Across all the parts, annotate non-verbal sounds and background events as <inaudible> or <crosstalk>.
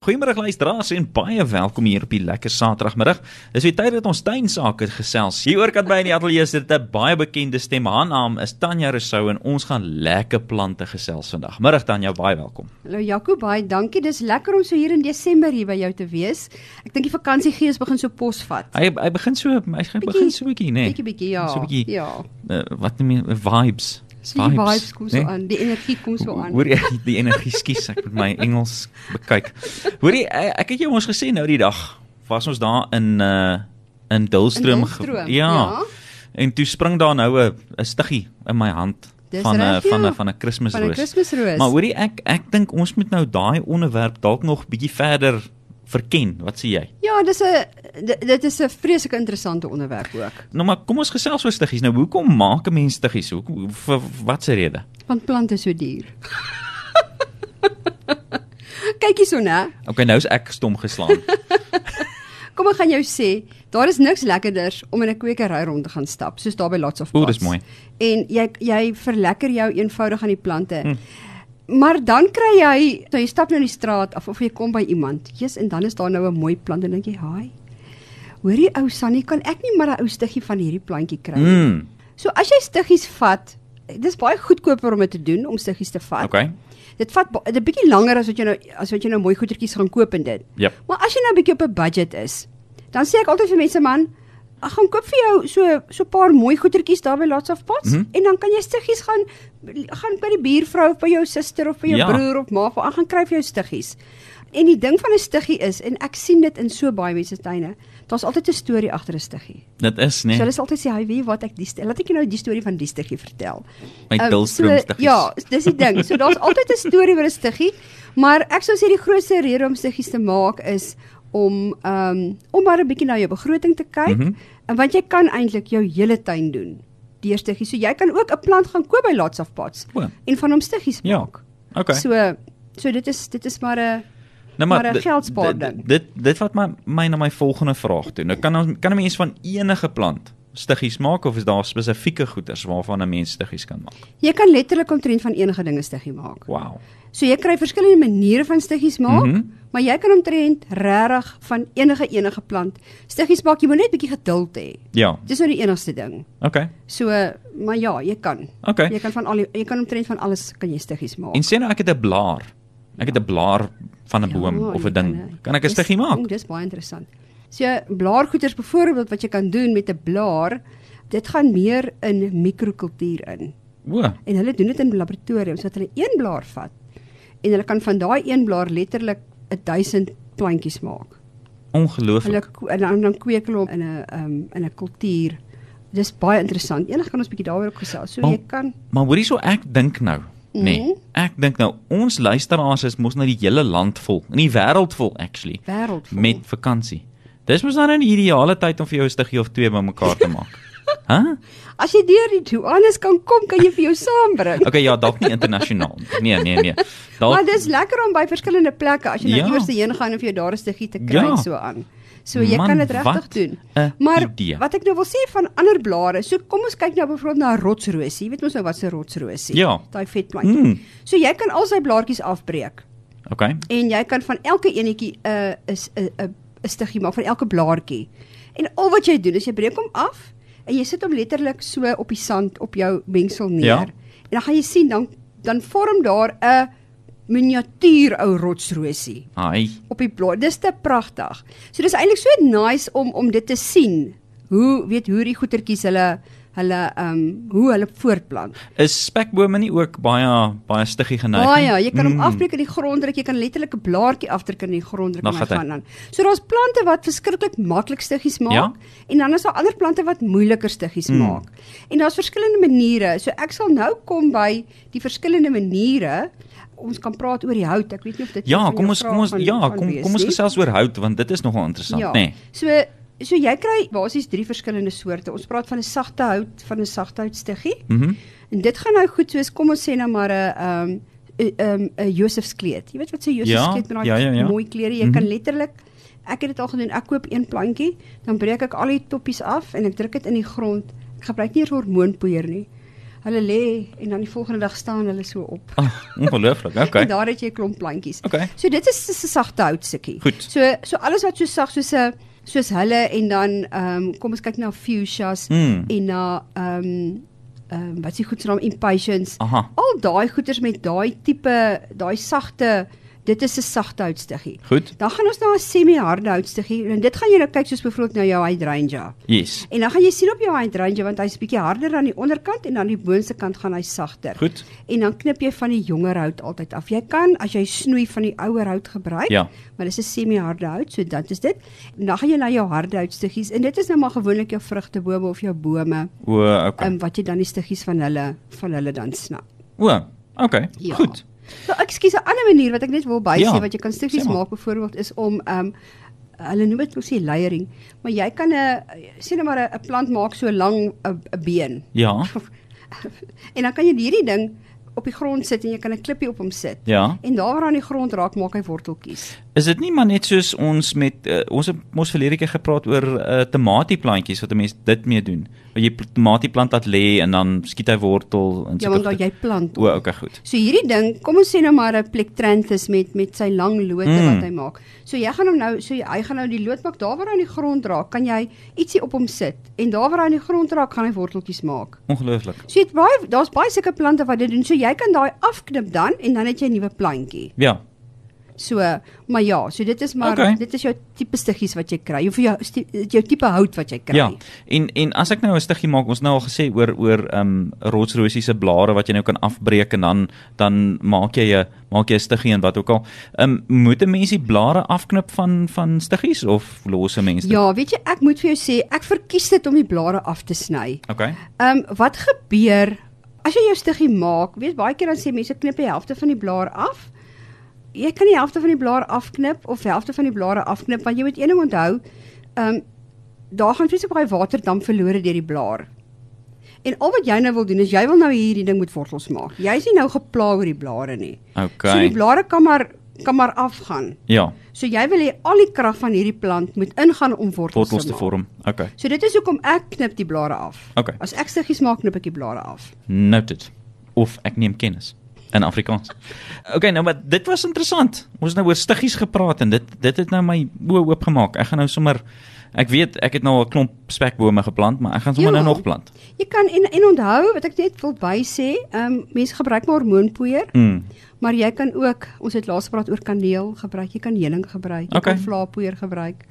Goeiemôre luisteraars en baie welkom hier op die lekker Saterdagmiddag. Dis weer tyd dat ons tuinsake gesels. Hier oor kat by in die ateljee sit 'n baie bekende stem. Haar naam is Tanya Rousseau en ons gaan lekker plante gesels vandag. Middag Tanya, baie welkom. Hallo Jaco, baie dankie. Dis lekker om so hier in Desember hier by jou te wees. Ek dink die vakansiegees begin so pos vat. Hy hy begin so hy gaan Bietjie- begin so 'n bietjie, né? Bietjie bietjie ja. Ah, So 'n bietjie ja. uh, wat noem jy vibes. So die vibes kom so né? aan, die energie kom so aan. Hoor jy die energie skies, ek moet my Engels bekyk. Hoor jy eh, ek het jou ons gesê nou die dag was ons daar in uh in Dullstroom. In Dullstroom, ge- ja. ja. En toe spring daar nou 'n 'n stiggie in my hand Dis van 'n reg, ja. van 'n van 'n Van 'n Kersroos. Kersroos. Maar hoorie ek ek dink ons moet nou daai onderwerp dalk nog bietjie verder verken. Wat sê jy? Ja, dis 'n di- dit is 'n vreeslike interessante onderwerp ook. Nou maar kom ons gesels oor stiggies. Nou hoekom maak 'n mens stiggies? Hoekom hoe- vir watse rede? Want plante is so duur. <laughs> Kyk hierson hè. Okay, nou is ek stom <laughs> geslaan. Kom ek gaan jou sê, daar is niks lekkerders om in 'n kwekery rond te gaan stap, soos daar by Lots of O, Plants. dis mooi. En jy jy verlekker jou eenvoudig aan die plante. Hm. Maar dan kry jy, so jy stap nou in die straat af of jy kom by iemand. Jesus, en dan is daar nou 'n mooi plant en dink jy, "Haai. Hoorie ou Sannie, kan ek nie maar 'n ou stiggie van hierdie plantjie kry nie?" Mm. So as jy stiggies vat, dis baie goedkoper om dit te doen om stiggies te vat. Okay. Dit vat ba- dit 'n bietjie langer as wat jy nou as wat jy nou mooi goedertjies gaan koop en dit. Jep. Maar as jy nou 'n bietjie op 'n budget is, dan sê ek altyd vir mense man, ek gaan koop vir jou so so 'n paar mooi goedertjies daar by Lots of Pots Mhm. en dan kan jy stiggies gaan gaan by die buurvrou of by jou suster of by jou Ja. broer of ma vir gaan kry vir jou stiggies. En die ding van 'n stiggie is en ek sien dit in so baie mense tuine, daar's altyd 'n storie agter 'n stiggie. Dit is So nee. hulle sal altyd sê, "Hy weet wat ek die stel. Laat ek jou nou die storie van die stiggie vertel." My Ehm, Dullstroomstiggies. So, ja, dis die ding. So daar's altyd 'n storie oor 'n stiggie, maar ek sou sê die grootste rede om stiggies te maak is om ehm om maar 'n bietjie na jou begroting te kyk, mm Mhm. -hmm. en want jy kan eintlik jou hele tuin doen deur stiggies. So jy kan ook 'n plant gaan koop by Lots of Pots O, en van hom stiggies Ja, maak. Okay. So so dit is dit is maar 'n Nou maar een dit- geldspaar dit- ding. Dit dit wat my my na my volgende vraag toe. Nou kan ons kan 'n mens van enige plant stiggies maak of is daar spesifieke goeders waarvan 'n mens stiggies kan maak? jy kan letterlik omtrent van enige ding 'n stiggie maak. Wow. So jy kry verskillende maniere van stiggies maak, mm Mhm. -hmm. maar jy kan omtrent regtig van enige enige plant stiggies maak. Jy moet net bietjie geduld hê. Ja. Dis nou die enigste ding. Okay. So, maar ja, jy kan. Okay. Jy kan van al die- jy kan omtrent van alles kan jy stiggies maak. En sê nou ek het 'n blaar. Ek het 'n blaar van 'n Ja, boom of jy 'n ding. Kan ek 'n stiggie dis- maak? o, Dis baie interessant. So blaargoeders byvoorbeeld wat jy kan doen met 'n blaar, dit gaan meer in mikrokultuur in. O. En hulle doen dit in laboratoriums wat hulle een blaar vat en hulle kan van daai een blaar letterlik 1000 plantjies maak. Hulle Ongelooflik. ko- en dan, dan kweek hulle hom in 'n um, in 'n kultuur. Dis baie interessant. Eendag kan ons bietjie daaroor ook gesels. So Maar- jy kan Maar hoorie so ek dink nou. Nee. Mhm. Ek dink nou ons luisteraars is mos nou die hele land vol, in die wêreld vol actually. wêreld vol. met vakansie. Dis mos dan nou die ideale tyd om vir jou 'n stiggie of twee bymekaar te maak. <laughs> Hæ? huh? As jy deur die douanes kan kom, kan jy vir jou saambring. Okay, ja, dalk nie internasionaal. nie. Nee, nee, nee. Maar Dalk dis lekker om by verskillende plekke as jy Ja. nou iewers heen gaan of jy daar 'n stukkie te kry Ja. ja. so aan. So jy Man, kan dit regtig wat doen. 'n Maar idee. wat ek nou wil sê van ander blare, so kom ons kyk nou byvoorbeeld na 'n rotsrosie. Jy weet mos nou wat 'n rotsrosie. Ja. Daai vetplantjie. Mm. So jy kan al sy blaartjies afbreek. Okay. en jy kan van elke enetjie 'n is 'n 'n 'n stiggie maak van elke blaartjie. En al wat jy doen is jy breek hom af en jy sit hom letterlik so op die sand op jou mengsel neer. Ja. En dan gaan jy sien dan dan vorm daar 'n miniatuur ou rotsrosie Ai. op die blaar. Dis te pragtig. So dis eintlik so nice om om dit te sien. Hoe weet hoe die goetertjies hulle hulle ehm um, hoe hulle voortplant. Is spekbome nie ook baie baie stiggie geneig? Baie, nie? ja, jy kan hom Mm. mm. afbreek in die grond druk, jy kan letterlik 'n blaartjie afdruk in die grond druk Dan en hy gaan hy. gaan dan. So daar's plante wat verskriklik maklik stiggies maak Ja. en dan is daar ander plante wat moeiliker stiggies Mm. mm. maak. En daar's verskillende maniere. So ek sal nou kom by die verskillende maniere. Ons kan praat oor die hout. Ek weet nie of dit Ja, van kom jou ons kom vraag ons gaan- ja, gaan kom wees kom ons nie. Ja. gesels oor hout want dit is nogal interessant, nê. Nee. So so jy kry basies drie verskillende soorte. Ons praat van 'n sagte hout, van 'n sagte houtstiggie. Mhm. En dit gaan nou goed soos kom ons sê nou maar 'n ehm 'n ehm 'n Josef kleed. Jy weet wat sê Josef Ja, kleed met daai ja, ja, ja. mooi klere. Jy kan letterlik ek het dit al gedoen. Ek koop een plantjie, dan breek ek al die toppies af en ek druk dit in die grond. Ek gebruik nie eens hormoonpoeier nie. Hulle lê en dan die volgende dag staan hulle so op. Ag, Ah, ongelooflik. Okay. En daar het jy 'n klomp plantjies. Okay. So dit is 'n sagte houtstukkie. Goed. So so alles wat so sag soos 'n soos hulle en dan ehm um, kom ons kyk na fuchsias Mm. en na ehm ehm wat is die goed se naam impatiens. Aha. Al daai goeters met daai tipe daai sagte dit is 'n sagte houtstukkie. Goed. Dan gaan ons na 'n semi-harde houtstukkie en dit gaan jy nou kyk soos byvoorbeeld na jou hydrangea. Yes. En dan gaan jy sien op jou hydrangea want hy's bietjie harder aan die onderkant en aan die boonste kant gaan hy sagter. Goed. En dan knip jy van die jonger hout altyd af. Jy kan as jy snoei van die ouer hout gebruik, Ja. maar dis 'n semi-harde hout, so dit is dit. En dan gaan jy na jou harde houtstukkies en dit is nou maar gewoonlik jou vrugtebome of jou bome, O, okay. um, wat jy dan die stukkies van hulle van hulle dan snap. O, okay. Ja. Goed. So ek skuis 'n ander manier wat ek net wil bysê Ja, wat jy kan stukkies sê maar. maak byvoorbeeld is om ehm um, hulle noem dit mos die leiering, maar jy kan 'n sê net maar 'n- 'n plant maak so lank 'n 'n been. Ja. <laughs> en dan kan jy hierdie ding op die grond sit en jy kan 'n klippie op hom sit. Ja. En daar waar aan die grond raak, maak hy worteltjies. Is dit nie maar net soos ons met uh, ons het mos verlede keer gepraat oor uh, tomatieplantjies wat 'n mens dit mee doen. Waar jy pl- tomatieplant laat lê en dan skiet hy wortel en Ja, sulke want daar goed. jy plant. O, okay, goed. So hierdie ding, kom ons sê nou maar 'n plektranthus met met sy lang lote Mm. wat hy maak. So jy gaan hom nou, so jy, hy gaan nou die loot maak daar waar hy aan die grond raak, kan jy ietsie op hom sit en daar waar hy aan die grond raak, gaan hy worteltjies maak. Ongelooflik. So jy het baie daar's baie sulke plante wat dit doen. So jy kan daai afknip dan en dan het jy 'n nuwe plantjie. Ja. So, maar ja, so dit is maar Okay. okay. dit is jou tipe stiggies wat jy kry. Of jou sti- jou tipe hout wat jy kry. Ja. En en as ek nou 'n stukkie maak, ons nou al gesê oor oor ehm um, rotsrosie se blare wat jy nou kan afbreek en dan dan maak jy 'n maak jy 'n stukkie en wat ook al. Ehm um, moet 'n mens die blare afknip van van stukkies of lose mense? Ja, weet jy, ek moet vir jou sê, ek verkies dit om die blare af te sny. Okay. Ehm um, wat gebeur as jy jou stiggie maak? Weet baie keer dan sê mense knip die helfte van die blaar af. Jy kan die helfte van die blaar afknip of die helfte van die blare afknip want jy moet een ding onthou, ehm um, daar gaan vreeslik baie waterdamp verlore deur die blaar. En al wat jy nou wil doen is jy wil nou hierdie ding met wortels maak. Jy's nie nou gepla oor die blare nie. So Okay. die blare kan maar kan maar afgaan. ja, So jy wil hê al die krag van hierdie plant moet ingaan om wortels, wortels te maak. vorm. Okay. So dit is hoekom ek knip die blare af. Okay. As ek stiggies maak, knip ek die blare af. Noted. Of ek neem kennis in Afrikaans. Okay, nou maar dit was interessant. Ons het nou oor stiggies gepraat en dit dit het nou my oë oop gemaak. Ek gaan nou sommer ek weet ek het nou al 'n klomp spekbome geplant, maar ek gaan sommer Ja. nou nog plant. Jy kan en en onthou wat ek net wil by sê, ehm um, mense gebruik maar hormoonpoeier, Mm. maar jy kan ook, ons het laas gepraat oor kaneel gebruik, jy kan heuning gebruik, jy Okay. kan flaapoeier gebruik.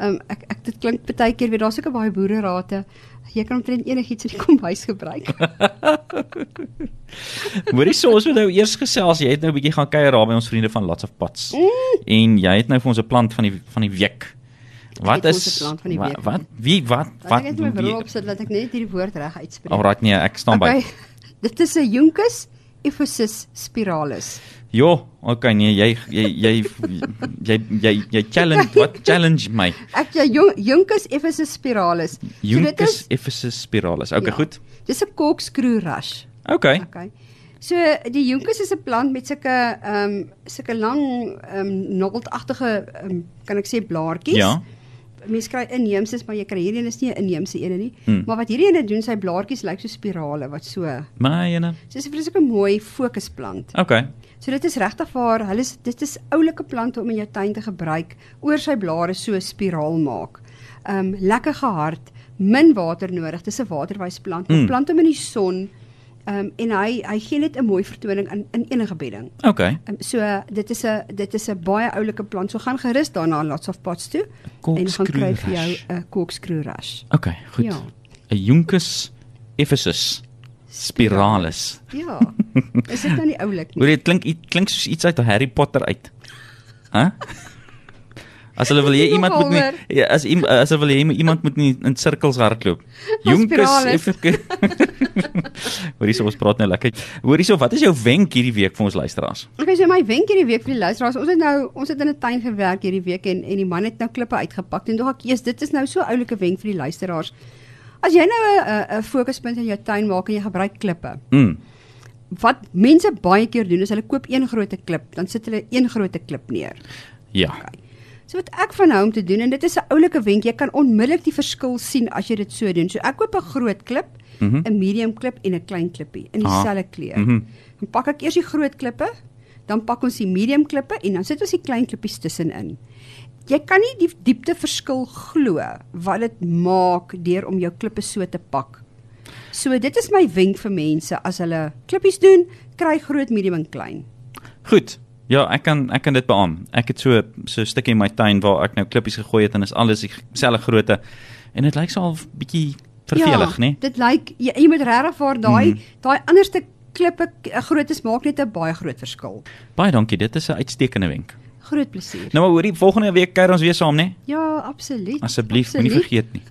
Ehm um, ek ek dit klink baie keer weer daar's ook baie boererate. Jy kan omtrent enigiets in die kombuis gebruik. Hoorie so ons moet nou eers gesels. Jy het nou 'n bietjie gaan kuier daar by ons vriende van Lots of Pots. En jy het nou vir ons 'n plant van die van die week. Wat het vir ons is 'n plant van die wa- week. Wat wie wat Wat wat ek net my bril wie- op sit dat ek net hierdie woord reg uitspreek. Alraai nee, ek staan by. <laughs> Dit is 'n Juncus Ephesus spiralis. Jo, okay nee, jy jy jy jy jy, jy challenge <laughs> wat challenge my. Ek ja Jun- Juncus Ephesus spiralis. Juncus Ephesus spiralis. Okay, Ja. goed. Dis 'n corkscrew rush. Okay. Okay. So die Juncus is 'n plant met sulke ehm um, sulke lang ehm um, nobbeldagtige ehm um, kan ek sê blaartjies. Ja. Mense kry inheemses, maar jy kry hierdie een is nie 'n inheemse een nie. Hmm. Maar wat hierdie een doen, sy blaartjies lyk so spirale wat so. My ene. So dis 'n vreeslike mooi fokusplant. Okay. So dit is regtig waar, hulle is dit is oulike plante om in jou tuin te gebruik, oor sy blare so 'n spiraal maak. Um lekker gehard, min water nodig. Dis 'n waterwysplant. Mm. Mm. Plant hom in die son. Um en hy hy gee net 'n mooi vertoning in in enige bedding. Okay. Um, so dit is 'n dit is 'n baie oulike plant. So gaan gerus daarna aan lots of pots toe en gaan kry vir jou Corkscrew 'n corkscrew rush. Okay, goed. Ja. 'n Juncus Ephesus spiralis. Ja. is dit nou nie oulik nie? Hoor jy, dit klink dit klink soos iets uit Harry Potter uit. Hæ? As hulle wil hê Dit is iemand nogal, moet nie ja, as iem- as hulle wil hê iemand moet nie in sirkels hardloop. <laughs> Jonkes spirale. effek. Hoor hierso ons praat nou lekker. Hoor hierso, wat is jou wenk hierdie week vir ons luisteraars? Okay, so my wenk hierdie week vir die luisteraars, ons het nou ons het in 'n tuin gewerk hierdie week en en die man het nou klippe uitgepak en toe ek eers dit is nou so 'n oulike wenk vir die luisteraars. As jy nou 'n- 'n 'n fokuspunt in jou tuin maak en jy gebruik klippe. Mm. Wat mense baie keer doen is hulle koop een groot klip, dan sit hulle een groot klip neer. Ja. Okay. So wat ek van hou om te doen en dit is 'n oulike wenk, jy kan onmiddellik die verskil sien as jy dit so doen. So ek koop 'n groot klip, 'n Mhm. medium klip en 'n klein klippie in Ah. dieselfde kleur. Mhm. Dan pak ek eers die groot klippe, dan pak ons die medium klippe en dan sit ons die klein klippies tussenin. Jy kan nie die diepte verskil glo wat dit maak deur om jou klippe so te pak. So dit is my wenk vir mense as hulle klippies doen, kry groot, medium en klein. Goed. Ja, ek kan ek kan dit beam. Ek het so so 'n stukkie in my tuin waar ek nou klippies gegooi het en is alles dieselfde grootte. En dit lyk so al bietjie vervelig, ja, né? Dit lyk jy, jy moet regtig waar daai Mhm. daai ander stuk klippe k- grootes maak net 'n baie groot verskil. Baie dankie. Dit is 'n uitstekende wenk. Groot plesier. Nou maar hoorie, volgende week kuier ons weer saam, né? ja, absoluut. Asseblief, moenie absoluut. vergeet nie.